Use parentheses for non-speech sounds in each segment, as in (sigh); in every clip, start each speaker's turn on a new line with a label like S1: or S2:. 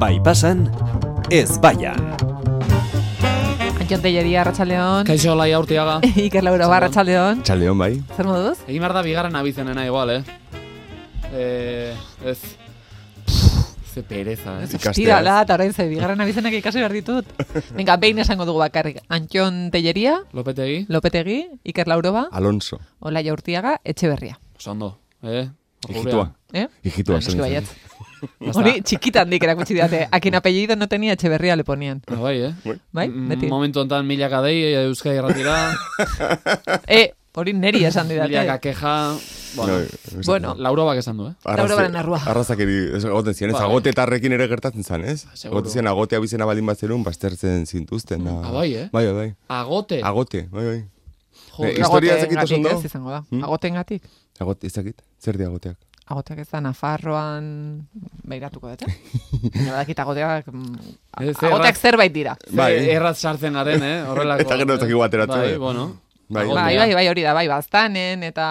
S1: Bai pasan, ez baian.
S2: Antxon Telleria, Arratxaldeon.
S3: Kaixo lai aurtiaga.
S2: (laughs) Iker Laura Bar, Arratxaldeon.
S4: Txaldeon bai.
S2: Zer moduz?
S3: Egin behar da bigarren abizenena igual, eh? Eh, ez. Ze pereza, eh?
S4: Ikastea,
S2: Tira,
S4: ez?
S2: la, eta orain ze, bigarren abizenak ikasi behar
S3: (laughs)
S2: ditut. Venga, behin esango dugu bakarrik. Antxon Telleria,
S3: Lopetegi,
S2: Lopetegi, Iker Lauroba,
S4: Alonso.
S2: Olaia Urtiaga, Etxeberria.
S3: osondo, eh?
S4: Ikitua.
S2: Eh?
S4: Ikitua
S2: Ah, noski
S4: zen.
S2: baietz. (laughs)
S3: Basta.
S2: Hori txikitan dik erakutsi didate. Akin apellido no tenía Etxeberria le ponían.
S3: Ah, bai, eh?
S2: Bai,
S3: Mm,
S2: beti.
S3: Momentu honetan milaka dei, eh, Euskadi
S2: (laughs)
S3: ratira,
S2: Eh, hori neri esan
S3: milaka
S2: didate.
S3: keja...
S4: No,
S3: Bueno,
S4: ez-
S2: Bueno,
S3: Lauro bak esan du, eh?
S4: arraze-
S2: Laurogaren arrua.
S4: Arrazakeri, ez egoten ziren, ez
S3: Bai.
S4: agotetarrekin ere gertatzen zen, ez?
S2: Ba,
S3: Seguru.
S4: Egoten ziren agote abizena balin bat zerun, baztertzen zintuzten. Da.
S3: Ah, bai, eh?
S4: Bai, bai, bai.
S3: Agote.
S4: Agote, bai, bai.
S3: Jo,
S4: Eh, historia ez dakit oso
S2: Agotengatik
S4: ondo.
S2: ez izango da.
S4: Hmm?
S2: Agotengatik.
S4: Agote, ez dakit? Zer di agoteak?
S2: Agoteak ez da Nafarroan beiratuko dut, eh? Baina badakit agoteak... mm,
S3: Ez, erra-
S2: Agoteak zerbait dira.
S3: Bai.
S4: Bai.
S3: Erraz sartzen garen, eh? Horrelako.
S4: Eta gero ez dakigu ateratu,
S3: Bai,
S4: eh?
S3: bueno.
S4: Bai.
S3: Agotea.
S2: Bai, bai, bai, hori da, bai, baztanen eta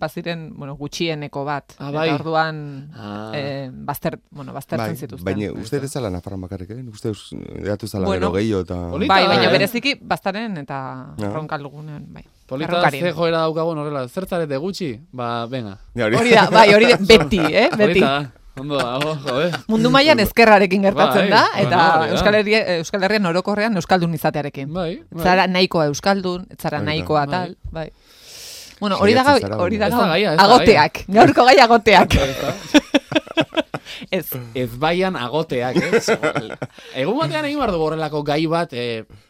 S2: baziren, bueno, gutxieneko bat.
S3: Hmm. Ah, bai.
S2: Eta orduan,
S3: Ah.
S2: eh, bazter, bueno, baztertzen zituzten.
S4: Bai, baina uste ez zala Nafarroan bakarrik, eh? Uste edatu zala gero
S2: Bueno.
S4: gehiago eta...
S3: Polita
S2: Bai,
S3: da,
S2: baina
S3: eh?
S2: bereziki baztaren eta
S4: Ja.
S2: ronkalgunen, bai.
S3: Polita
S2: Erronkarin.
S3: ze joera daukagun horrela. Zertzarete gutxi? Ba, venga.
S4: Ja,
S2: Hori da, bai,
S3: (laughs)
S2: hori de, beti, eh, beti.
S3: Polita da. Ondo dago, joder.
S2: Mundu mailan ezkerrarekin gertatzen
S3: Bai,
S2: da,
S3: bueno,
S2: eta
S3: hori da.
S2: Euskal, Herria, Euskal Herrian orokorrean Euskaldun izatearekin.
S3: Bai,
S2: Ez
S3: bai.
S2: Zara nahikoa euskaldun, ez zara
S4: Hori da.
S2: nahikoa
S3: Bai.
S2: tal, bai. Bueno, hori da
S4: Saiatzen
S2: gai-
S4: zara,
S2: hori da
S3: baina.
S2: gaur-
S3: Ez da gaia, ez da
S2: agoteak, gaurko gai agoteak. (laughs) ez,
S3: Ez baian agoteak, eh? (laughs) Zegoela. Egun batean egin behar dugu horrelako gai bat, eh,
S4: (laughs)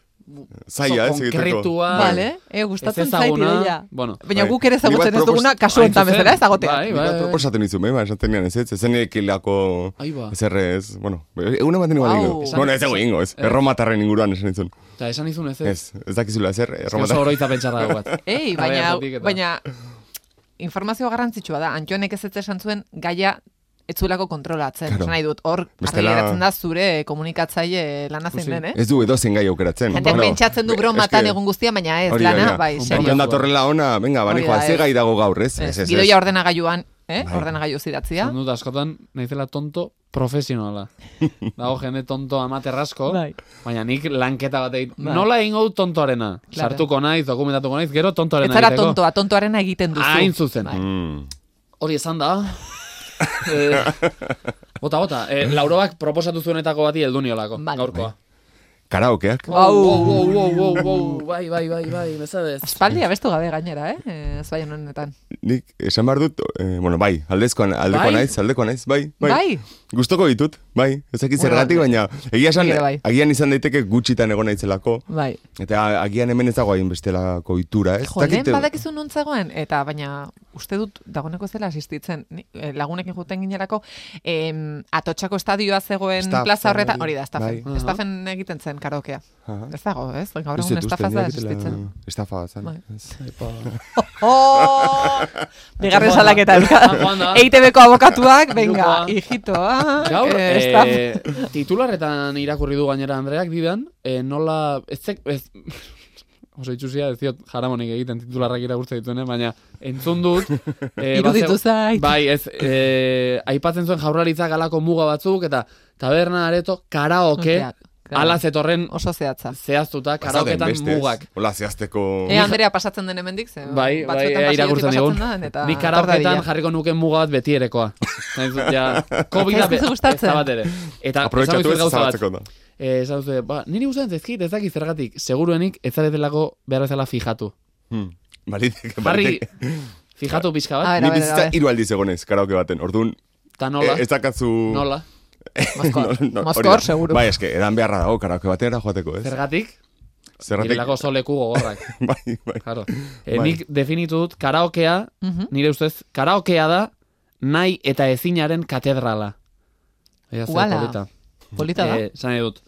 S4: Zaila, ez
S3: oso
S4: egiteko.
S3: konkretua.
S4: Bai.
S2: vale, eh, gustatzen
S3: Ez
S2: zait
S3: ezaguna,
S2: ideia.
S3: bueno,
S2: Baina
S4: bai.
S2: guk ere
S4: Nik
S2: ezagutzen
S4: bat
S2: ez duguna
S4: propos-
S2: kasu
S3: hain
S2: honetan
S3: zuzen.
S2: bezala ez agoteak.
S3: Bai,
S4: Nik bat
S3: bai,
S4: proposatu nizu, mei, ba, esaten nian ez ez, ezen ekilako
S3: Ahí va.
S4: ezer ez, bueno, egun ematen igual
S2: Wow.
S4: egingo.
S2: Esan-
S4: Bueno, ez egu egingo, ez, erromatarren inguruan esan nizun.
S3: eta esan izun ez ez.
S4: Ez, ez er, dakizula ezer,
S3: Ez oso
S4: erromatarren.
S3: oroitza pentsarra (laughs) dugu bat.
S2: Ei,
S3: Bai,
S2: baina,
S3: agotik eta-
S2: baina informazio garrantzitsua da. Antxonek ez ez esan zuen gaia etzulako kontrolatzen.
S4: Claro.
S2: Esan nahi dut, hor,
S4: Bestela-
S2: Bestela... geratzen da zure komunikatzaile lana zein
S3: Ikusi.
S2: den, eh?
S4: Ez du edozein gai aukeratzen.
S2: Jendeak
S4: Eh, Bueno,
S2: pentsatzen du
S4: be-
S2: bromatan
S4: eske-
S2: egun guztia, baina ez,
S4: Hori da,
S2: lana,
S4: ja.
S2: bai,
S3: Un
S2: serio.
S4: Joan datorrela ona, venga,
S2: Hori
S4: bani joa,
S2: da,
S4: ze
S2: ez.
S4: gai dago gaur, ez? Ez,
S2: Ez,
S4: ez,
S2: gidoia
S4: ez.
S2: ordenagailuan, eh?
S4: Bai.
S2: Ordenagailu zidatzia.
S3: Esan dut askotan, naizela tonto profesionala. (laughs) Dago jende tonto amaterrasko,
S2: Bai.
S3: baina nik lanketa bat egit.
S2: Bai.
S3: Nola egingo dut tontoarena?
S2: Claro.
S3: Sartuko naiz, dokumentatuko naiz, gero tontoarena
S2: Ez zara tontoa, tontoarena egiten duzu.
S3: Hain zuzen.
S2: Bai.
S4: Mm.
S3: Hori esan da. (laughs) eh, bota, bota. Eh, Lauroak proposatu zuenetako bati heldu niolako,
S2: Vale.
S3: gaurkoa.
S4: Karaokeak.
S2: Wow, wow,
S3: wow, wow, wow, wow, bai, bai, bai, bai, bezadez.
S2: Aspaldi abestu gabe gainera, eh? Eh, Ez baian honetan.
S4: Nik esan behar dut, eh, bueno, bai, aldezkoan, aldekoa
S3: Bai?
S4: naiz, aldekoa naiz, bai, bai.
S2: Bai?
S4: Gustoko ditut, bai. Ez dakit
S2: Bueno,
S4: zergatik, baina egia esan,
S2: Nik ere bai.
S4: agian izan daiteke gutxitan egon naizelako.
S2: Bai.
S4: Eta agian hemen ez dago hain bestelako itura, ez?
S2: Jo, lehen
S4: Dakit-
S2: badakizu non zegoen, eta baina uste dut dagoeneko ez dela asistitzen ni, eh, lagunekin juten ginerako, em, atotxako estadioa zegoen
S4: Staff,
S2: plaza horretan,
S4: bai.
S2: hori da, estafen.
S4: Bai.
S2: Estafen egiten zen karokea.
S4: Aha.
S2: Ez dago, ez? Gaur
S4: Ez
S2: egun
S4: dut uste,
S2: estafaz
S4: ni
S2: da
S4: dakitela
S2: asistitzen.
S4: Estafa bat zen.
S2: Bai.
S4: Ez.
S3: (laughs)
S2: Oh! Bigarren
S3: Joan da.
S2: salaketa. E
S3: Joan da.
S2: EITB-ko abokatuak, venga,
S3: Jokoa.
S2: hijitoa.
S3: Gaur,
S2: eh, estaf-
S3: eh, titularretan irakurri du gainera Andreak bidan, eh, nola, ez, zek- ez (laughs) oso itxusia, ez diot jaramonik egiten titularrak irakurtzen dituen, eh, baina entzun dut...
S2: (laughs)
S3: Eh,
S2: Iruditu
S3: bazeu-
S2: zait.
S3: Bai, ez, eh, aipatzen zuen jaurlaritzak alako muga batzuk, eta taberna areto karaoke,
S2: Okeak, claro.
S3: ala zetorren
S2: Oso zehatza.
S3: zehaztuta,
S4: Bazauden
S3: karaoketan
S4: beste, ez?
S3: mugak.
S4: Hola, zehazteko...
S2: E, Andrea pasatzen den hemendik, ze
S3: Bai, bai,
S2: batzuetan
S3: ea
S2: pasaiotik
S3: irakurtzen
S2: pasatzen
S3: digun.
S2: den, eta
S3: Ni
S2: tardadila.
S3: karaoketan jarriko nuke muga bat betierekoa. Nahiz,
S2: (laughs)
S3: ja, COVID-a
S2: Ez duzu gustatzen?
S3: da bat ere. Eta esan
S4: Aprobetxatu ez
S3: gauza bat.
S4: zabaltzeko da.
S3: Eh, esan duzue, ba, niri gustatzen zaizkit, ez dakit zergatik, seguruenik ez zaretelako behar bezala fijatu.
S4: Hmm. Baliteke, (laughs)
S3: Jarri,
S4: baliteke.
S3: fijatu pixka
S2: A
S3: bat,
S2: ber,
S4: Ni
S2: a ber, a
S4: bizitza
S2: ber.
S4: hiru aldiz egonez, karaoke baten. Orduan,
S3: eta
S4: e,
S3: nola,
S4: ez dakatzu...
S3: nola.
S4: (laughs) No,
S2: Moskor,
S4: no, hori da.
S2: Moskor, seguru.
S4: Bai, eske, edan beharra dago, karaoke batera joateko, ez?
S3: Zergatik,
S4: Zergatik...
S3: direlako soleku gogorrak.
S4: (laughs) Bai, bai.
S3: Claro. Eh,
S4: Bai.
S3: nik definitu dut, karaokea,
S2: Mhm.
S3: nire ustez, karaokea da, nahi eta ezinaren katedrala. Ea, zer
S2: Uala.
S3: polita.
S2: Polita da.
S3: Eh, esan nahi dut.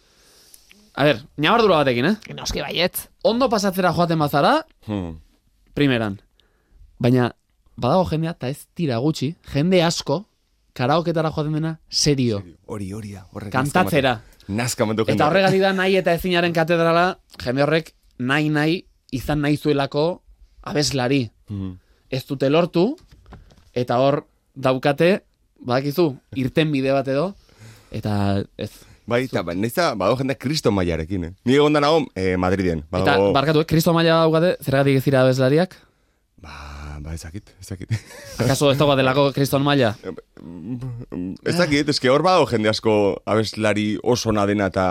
S3: A ber, nabardura batekin, eh?
S2: Noski baietz.
S3: Ondo pasatzera joaten bazara,
S4: Hmm.
S3: primeran. Baina, badago jendea, eta ez tira gutxi, jende asko, karaoketara joaten dena, serio.
S4: Hori, hori da. horrek
S3: Kantatzera.
S4: Nazka mandu
S3: Eta horregatik da nahi eta ezinaren katedrala, jende horrek nahi nahi izan nahi zuelako abeslari.
S4: Hmm.
S3: Ez dute lortu, eta hor daukate, badakizu, irten bide bat edo, eta ez,
S4: Bai, eta ba, naiza, badago jendea kristo mailarekin, eh? Ni egon da nago eh, Madriden.
S3: Eta,
S4: Badago,
S3: barkatu, eh, kristo maila daukate, zergatik ez dira abeslariak?
S4: Ba, ba, ezakit, ezakit.
S3: Akaso ez dago delako kriston maila?
S4: ezakit, eske hor badago jende asko abeslari oso nadena eta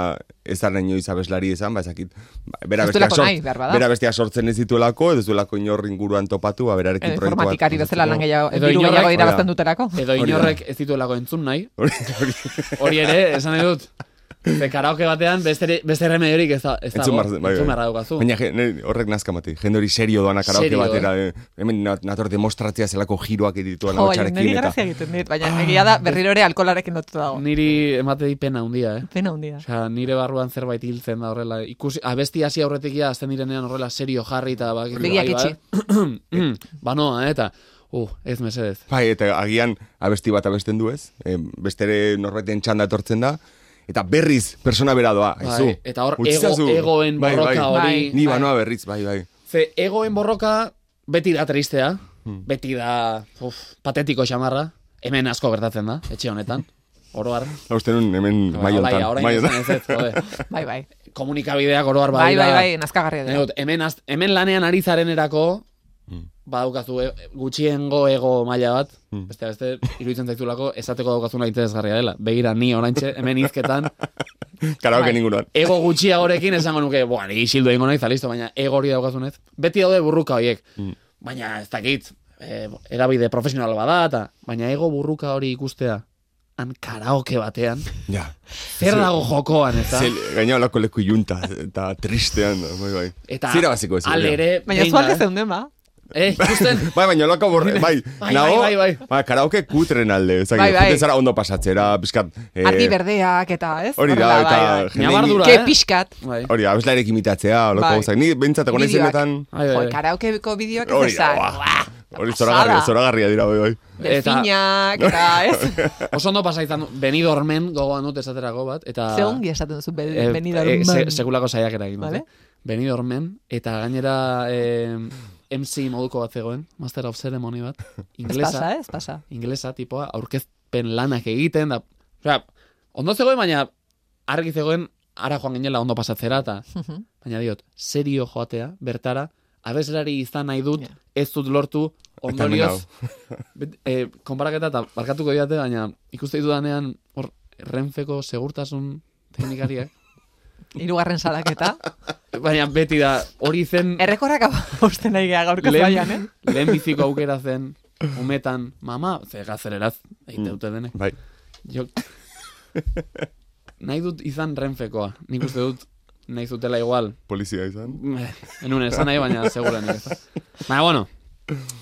S4: ez da inoiz abeslari esan, ba, ezakit. Ba, Bera
S2: Ez
S4: bestiak,
S2: duelako
S4: sort,
S2: nahi, behar bada.
S4: bera bestiak sortzen ez dituelako, ez duelako inor inguruan topatu, ba, berarekin
S2: Edo
S4: proiektua-
S2: Informatikari bezala lan gehiago,
S3: Edo
S2: diru gehiago
S3: inorrek-
S2: irabazten dutelako. (laughs)
S3: Edo
S4: Hori da.
S3: inorrek ez dituelako entzun nahi.
S4: (laughs) Hori- hori-
S3: Hori ere, esan nahi dut. Ze karaoke batean beste, beste remediorik ez da, ez da,
S4: Entzun behar- bai, bai.
S3: beharra daukazu.
S4: Baina je- ne- horrek nazka mati, jende hori serio doana karaoke
S3: Serio,
S4: batera. Eh? Hemen nat- nator demostratzea zelako giroak edituan
S2: Jo, baina niri
S4: ahotsarekin eta...
S2: grazia egiten dit, baina
S3: Ah.
S2: egia da berriro ere alkolarekin lotuta dago.
S3: Niri ematei pena handia, eh?
S2: Pena
S3: (laughs)
S2: hundia.
S3: Osea, nire barruan zerbait hiltzen da horrela. Ikusi, abesti hasi aurretik ja, azten direnean horrela serio jarri eta bak,
S2: Begiak
S3: (clears throat) ba noa, eh, eta, uh, ez mesedez.
S4: Bai, eta agian abesti bat abesten du ez, e, bestere norbaiten txanda etortzen da, eta berriz persona bera doa, aizu.
S3: Bai, eta hor
S4: utzi
S3: ego-
S4: zazu.
S3: egoen borroka
S2: hori-
S4: Ni
S2: Bai.
S4: banoa berriz, bai, bai.
S3: Ze, egoen borroka beti da tristea,
S4: Hmm.
S3: beti da, uf, patetiko xamarra, hemen asko gertatzen da, etxe honetan, oroar.
S4: Hausten nun, hemen Hmm,
S2: Ba,
S4: maiontan.
S3: Alaia, orain
S4: maiontan.
S3: esan ez, jode.
S4: (laughs)
S2: Bai, bai.
S3: komunikabideak oroar
S2: Bai,
S3: badira.
S2: bai, bai, nazkagarria
S3: Nahi
S2: dira.
S3: dut, Hemen, az- hemen lanean ari zarenerako,
S4: Hmm.
S3: badaukazu e, gutxiengo ego maila bat, beste beste, iruditzen zaizulako, esateko daukazuna interesgarria dela. Begira, ni oraintxe, hemen izketan,
S4: (laughs) Karaoke
S2: Bai.
S4: ninguruan.
S3: ego gutxiagorekin esango nuke, boa, ni isildu egingo naiz, listo, baina ego hori daukazunez. Beti daude burruka horiek,
S4: Mm.
S3: baina ez dakit, e, erabide profesional bada, eta, baina ego burruka hori ikustea, han karaoke batean,
S4: Ja.
S3: zer dago jokoan, eta...
S4: Zel, gaina olako leku junta, eta tristean, bai, bai.
S3: Eta
S4: Zira basiko ez.
S3: al ere,
S2: Baina
S3: behin
S2: zu alde
S3: da,
S2: zeunden, ba?
S3: eh, Eh, ikusten,
S4: (laughs) Bai, baina olako borre, bai,
S3: bai,
S4: nao,
S3: bai, bai, bai.
S4: ba, karaoke kutren alde, ezagik,
S2: Bai, bai.
S4: joaten zara ondo pasatzera, pizkat, eh,
S2: Ardi berdeak eta, ez?
S4: hori da,
S2: Horrela,
S4: eta
S2: bai, bai.
S4: jende
S3: Nabardura,
S2: Ke
S3: eh?
S2: pixkat.
S3: Bai.
S4: Hori, abeslairek imitatzea, olako
S2: Bai.
S4: gauzak. Ni bentsatako nahi
S2: Bideoak.
S4: zenetan...
S3: Bai, bai,
S2: Jo,
S3: bai.
S2: karaoke bideoak ez
S4: Hori da,
S2: ezan.
S4: ba. Hori zoragarria,
S2: pasada.
S4: zoragarria dira, bai, bai.
S2: Delfinak, eta,
S3: (laughs)
S2: ez?
S3: Oso ondo pasa izan, benidormen gogoan dut esaterako bat, eta...
S2: Ze ongi esaten zu, ben,
S3: eh,
S2: benidar
S3: eh, se,
S2: man.
S3: sekulako saiakera egin.
S2: Vale.
S3: Vale? Benidormen, eta gainera eh, MC moduko bat zegoen, Master of Ceremony
S2: (laughs)
S3: bat,
S2: Ez pasa,
S3: inglesa,
S2: ez pasa. (laughs)
S3: inglesa tipoa, aurkezpen lanak egiten, da, osea, ondo zegoen, baina argi zegoen, ara joan ginela ondo pasatzera, eta
S2: Mhm.
S3: baina diot, serio joatea, bertara, abeslari izan nahi dut,
S2: Ja.
S3: ez dut lortu,
S4: Eta hemen
S3: ondorioz, (laughs) bet, eh, konparaketa eta barkatuko diate, baina ikuste ditudanean, hor, renfeko segurtasun teknikariak,
S2: Hirugarren
S3: (laughs)
S2: salaketa.
S3: baina beti da, hori zen,
S2: Errekorrak hausten nahi gara gaurko zaian, eh?
S3: lehen, lehen biziko aukera zen, umetan, mama, ze gazeleraz, egite dute denek.
S4: Bai.
S3: Jo, nahi dut izan renfekoa, nik uste dut, nahi zutela igual,
S4: Polizia izan.
S3: Eh, Enun, esan nahi baina seguran ez da. Baina, bueno,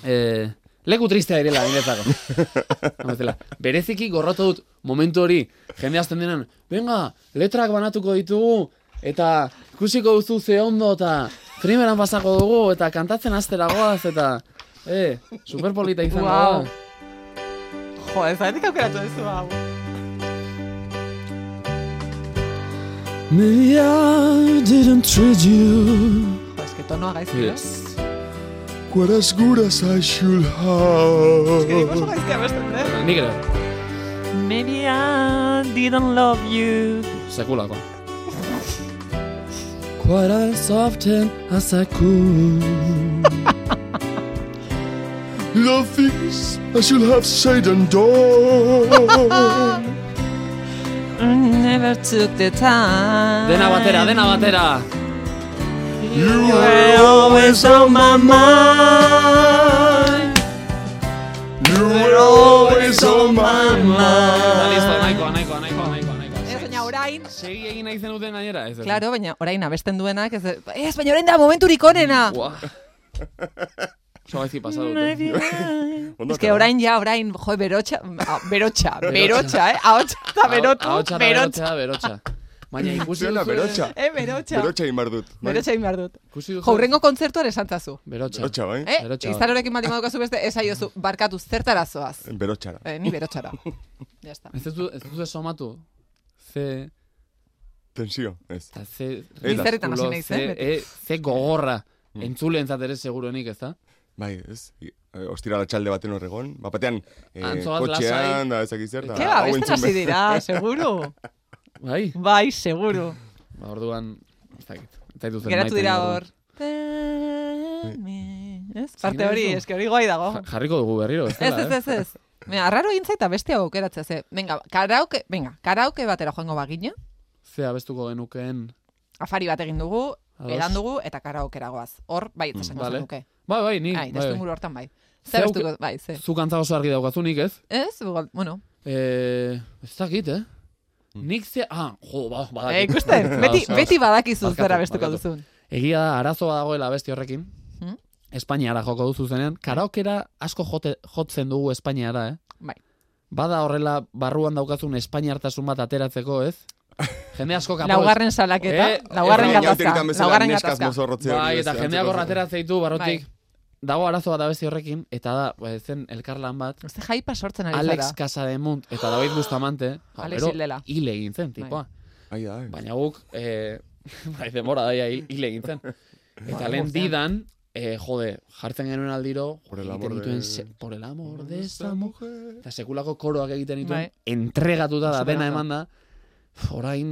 S3: eh, leku tristea direla, niretzako. Hau bezala, Bereziki gorrotu dut momentu hori, jende azten denan, venga, letrak banatuko ditugu, eta ikusiko duzu ze ondo, eta primeran pasako dugu, eta kantatzen astera goaz, eta, eh, superpolita izango
S2: Wow.
S3: da.
S2: Jo, ez da, aukeratu duzu, hau.
S3: Maybe I didn't treat you
S2: Jo, eske tonoa gaizki, eh?
S3: Yes.
S4: What as good as I should
S2: Eske
S4: have.
S2: oso gaizki abesten, eh?
S3: Nik ere,
S2: Maybe I didn't love you.
S3: sekulako. Quite as often as I could
S4: The things I should have said and done.
S2: Mm, Never took the time.
S3: Dena batera, dena batera.
S4: You were always on my mind. You were always on my
S3: Ba,
S4: mind.
S3: listo, nahikoa, nahikoa, nahikoa, nahikoa, nahikoa.
S2: Ez, baina orain...
S3: Segi egin nahi zenuten gainera, ez? ez.
S2: Claro, baina orain abesten duenak, ez, "Eh, ez baina orain da momenturik onena.
S3: Ua. Oso gaizki pasa dut. eh?
S4: Ondo
S2: Ez que
S4: atera.
S2: orain ja, orain, jo, berotxa, ah, berotxa, berotxa, eh? Ahotxa eta berotu,
S3: Ahotsa eta
S2: berotxa,
S3: berotxa, berotxa. Baina ikusi
S4: Zela
S3: duzu...
S4: berotxa.
S2: eh, berotxa,
S4: Berotxa egin behar dut. Bai.
S2: berotxa egin behar dut.
S3: Ikusi duzu...
S2: Jo, urrengo kontzertuan esantzazu.
S3: Berotxa.
S4: Berotxa, bai?
S2: Eh,
S3: Berotxa.
S2: izarrorekin baldin badukazu beste, ez aiozu, barkatu zertara zoaz.
S4: Berotxara.
S2: Eh, ni berotxara. Ya está.
S3: Ez du, ez duzu somatu. Ze...
S4: Tensio, ez.
S3: Eta ze...
S4: Ni
S2: zerretan hasi
S3: ridikulo,
S2: naiz,
S3: ze-
S2: eh, beti.
S3: e, Ze gogorra. Entzuleentzat ere seguruenik, ez da?
S4: Bai, ez. Eh, Ostira txalde baten horregon. Bapatean, eh,
S2: Ah,
S3: Antzoaz
S4: kotxean, da ezak izer.
S2: Ke ba, besten hasi dira, seguru.
S3: Bai?
S2: Bai, seguru.
S3: Ba, orduan, ez dakit. Ez dakit
S2: Geratu
S3: zen Bai, maite
S2: dira
S3: ni orduan.
S2: hor. Ez, parte hori, eske hori guai
S3: (laughs)
S2: dago.
S3: Ja- Jarriko dugu berriro, ez
S2: Ez,
S3: dela, eh?
S2: ez, ez, ez. Mira, arraro egin zaita beste hau aukeratzea ze. Venga, karaoke, venga, karaoke batera joango bagina,
S3: Ze abestuko genukeen...
S2: afari bat egin dugu,
S3: Ados. Mm,
S2: edan dugu, eta karaokera goaz. Hor, bai, eta esango
S3: Vale.
S2: zenuke.
S3: Bai, bai, ni.
S2: Ai,
S3: bai,
S2: testu
S3: bai.
S2: inguru hortan bai.
S3: Ze
S2: Zer
S3: auke-
S2: estuko, bai, ze.
S3: Zuk antza oso argi daukazunik, ez?
S2: Ez, igual, bueno.
S3: Eh, ez dakit, eh? Nik ze... Ah, jo, ba,
S2: Eh,
S3: badakit.
S2: ikusten,
S3: (laughs)
S2: beti,
S3: Ados, ados.
S2: beti badakizu
S3: Barkatu,
S2: zera bestuko
S3: barkatu.
S2: duzun.
S3: Egia da, arazoa dagoela beste horrekin.
S2: Hmm?
S3: Espainiara joko duzu zenean. Karaokera asko jote, jotzen dugu Espainiara, eh?
S2: Bai.
S3: Bada horrela barruan daukazun Espainiartasun bat ateratzeko, ez? Jende asko
S2: (laughs)
S3: kapo...
S2: Laugarren salaketa,
S3: Eh,
S4: (laughs)
S2: laugarren
S3: horrein
S2: gatazka, laugarren gatazka.
S3: Bai, eta jendeak hor ateratzen ditu barrotik.
S2: Bai.
S3: Dago arazo bat da beste horrekin, eta da, ba, zen elkarlan bat,
S2: Uste jaipa sortzen ari
S3: Alex
S2: Bai, zara.
S3: Casademunt eta David Bustamante, ja,
S2: Alex
S3: gero
S2: hildela. Bai.
S3: hil egin zen, tipoa.
S4: Ai, ai.
S3: Baina guk, eh, (laughs) bai, demora daia hil hil egin
S2: (laughs)
S3: zen. Eta
S2: Ba,
S3: lehen
S2: guztian.
S3: didan, eh, jode, jartzen genuen aldiro,
S4: Por el
S3: egiten
S4: amor de-
S3: dituen se- por el amor de esta mujer.
S4: mujer.
S3: Eta sekulako koroak egiten dituen,
S2: Bai.
S3: entregatuta da,
S2: Oso
S3: dena
S2: ondo.
S3: eman da, orain,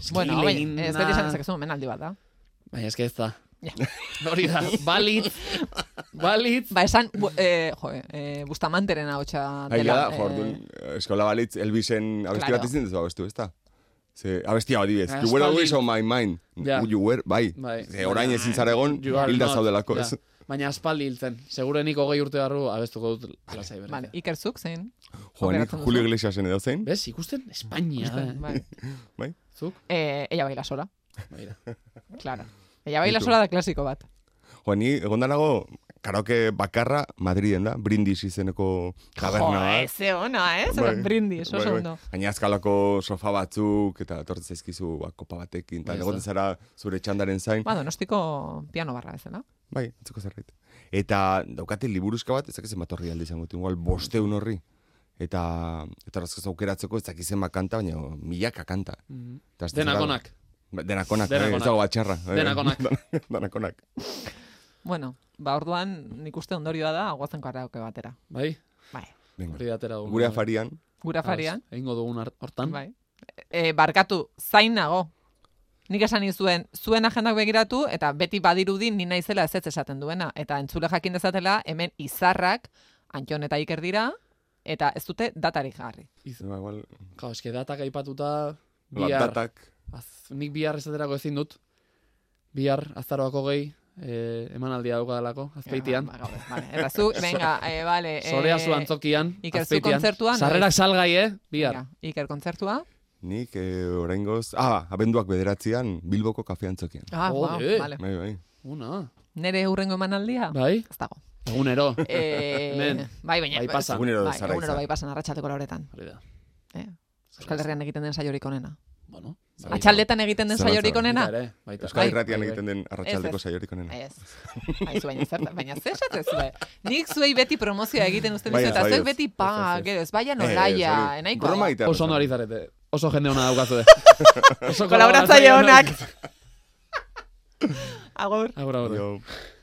S3: eski
S2: Bueno,
S3: hil
S2: baina,
S3: egin
S2: ez
S3: da.
S2: beti esan dezakezu menaldi bat da.
S3: Baina Bai, eske ez da.
S2: Ja.
S3: (laughs) Hori da, balitz, balitz,
S2: Ba, esan, bu- eh, jo, eh, Bustamanteren ahotsa
S4: Ai, Bai,
S2: dela.
S4: ja,
S2: eh,
S4: jordun, eskola balitz, Elvisen abesti
S2: Claro. Eh,
S4: bat izin duzu abestu, ez da? Ze, abesti hau dibez,
S3: Aspaldi.
S4: you were always on my mind.
S3: Ja.
S4: You were, bai.
S3: Bai.
S4: Ze, orain ezin zara egon,
S3: You are
S4: hilda
S3: not.
S4: zaudelako,
S3: Ja.
S4: ez?
S3: Baina aspaldi hiltzen. Segurenik hogei urte barru abestuko dut lasai berriz.
S2: Vale, Ikerzuk zein.
S4: Joan,
S2: Operatzen duzu.
S4: Julio Iglesiasen edo zein?
S3: Bez, ikusten Espainia. da, eh?
S2: Vale.
S3: Zuk? Bai,
S2: Eh, ella baila sola,
S3: Baira.
S2: claro. Ella baila
S4: Ditu.
S2: sola da klasiko bat.
S4: Joan, ni egon danago, karaoke bakarra Madriden da, brindis izeneko taberna.
S2: Jo,
S4: bat.
S2: eze ona, eh? Zer,
S4: Bai.
S2: brindis,
S4: Bai,
S2: oso
S4: bai.
S2: ondo.
S4: Baina azkalako sofa batzuk, eta tortzen zaizkizu ba, kopa batekin, eta
S3: Bai, ez
S4: egoten
S3: da.
S4: zara zure txandaren zain.
S2: Ba, donostiko piano barra bezala.
S4: Bai, atzeko zerbait. Eta daukate liburuzka bat, ez dakizen bat horri alde izango, dut, igual bosteun horri. Eta, eta razkaz aukeratzeko ez dakizen kanta, baina milaka kanta.
S3: Mhm.
S4: Eta azten zara-
S3: Denakonak.
S4: Ba, Denakonak,
S3: Denakonak.
S4: eh, ez dago batxarra. eh.
S3: Denakonak.
S4: (laughs) Denakonak.
S2: Bueno, ba, orduan nik uste ondorioa da guazen karaoke batera.
S3: Bai?
S2: Bai,
S4: Venga.
S3: Hori datera dugu.
S4: Gure afarian,
S2: gura farian.
S3: Ados, Egingo dugun hart- hortan.
S2: eh? Bai. E, barkatu, zain nago. Nik esan nizuen, zuen agendak begiratu, eta beti badirudi ni naizela ez esaten duena. Eta entzule jakin dezatela, hemen izarrak, Antion eta Iker dira, eta ez dute datarik jarri.
S4: ba, igual,
S3: Kao, eske datak aipatuta bihar.
S4: lapdatak,
S3: Az, nik bihar esaterako ezin dut. Bihar azaroako gehi eh, emanaldia daukadalako, azpeitian.
S2: Ba, ba, gaur, vale. Eta
S3: (laughs)
S2: zu, venga, eh, vale. eh,
S3: Sorea zu antzokian,
S2: Iker, zu
S3: azpeitian.
S2: kontzertuan,
S3: Sarrerak salgai, eh? Bihar.
S2: venga, Iker kontzertua.
S4: nik eh, oraingoz, ah, abenduak bederatzian, Bilboko kafean tzokian.
S2: Ah,
S3: Jode.
S2: ba, vale.
S4: Bai, bai.
S3: Una.
S2: Nere hurrengo emanaldia?
S3: Bai?
S2: Ez
S3: (laughs)
S2: dago.
S3: Egunero.
S2: Eh,
S3: Hemen.
S2: bai, baina.
S3: Bypassa.
S4: Egunero
S2: Bai,
S4: zara
S2: egunero
S4: izan.
S2: bai pasan, arratsaldeko lauretan.
S3: Hori da.
S2: Eh, Euskal Herrian egiten den saiorik onena.
S3: Bueno, bai.
S2: Atxaldetan egiten den
S4: Zara,
S2: saiorik
S4: zara.
S2: onena?
S3: Baita ere, baita.
S4: Euskal
S2: Bai,
S4: Irratian
S3: bai, Eh, bai.
S4: egiten den arratsaldeko
S2: Ez, ez.
S4: saiorik onena.
S2: Ez. Aizu, baina zer, baina zer esatzen zuen. Nik zuei beti promozioa egiten uzten dizu,
S4: Baina,
S2: eta
S4: bai,
S2: zuek
S4: ez.
S2: beti
S4: Ez,
S2: pa,
S4: ez, ez.
S2: gero, ez baia
S4: Eh,
S2: nolaia,
S4: ez, hori.
S2: enaikoa.
S4: Broma egiten.
S3: Oso ondo ari zarete. Oso jende ona
S4: (laughs)
S3: daukazue. Oso
S2: Kolaboratzaile
S3: onak.
S2: honak. Agur.
S3: Ah, Agur, agur.
S4: Yo-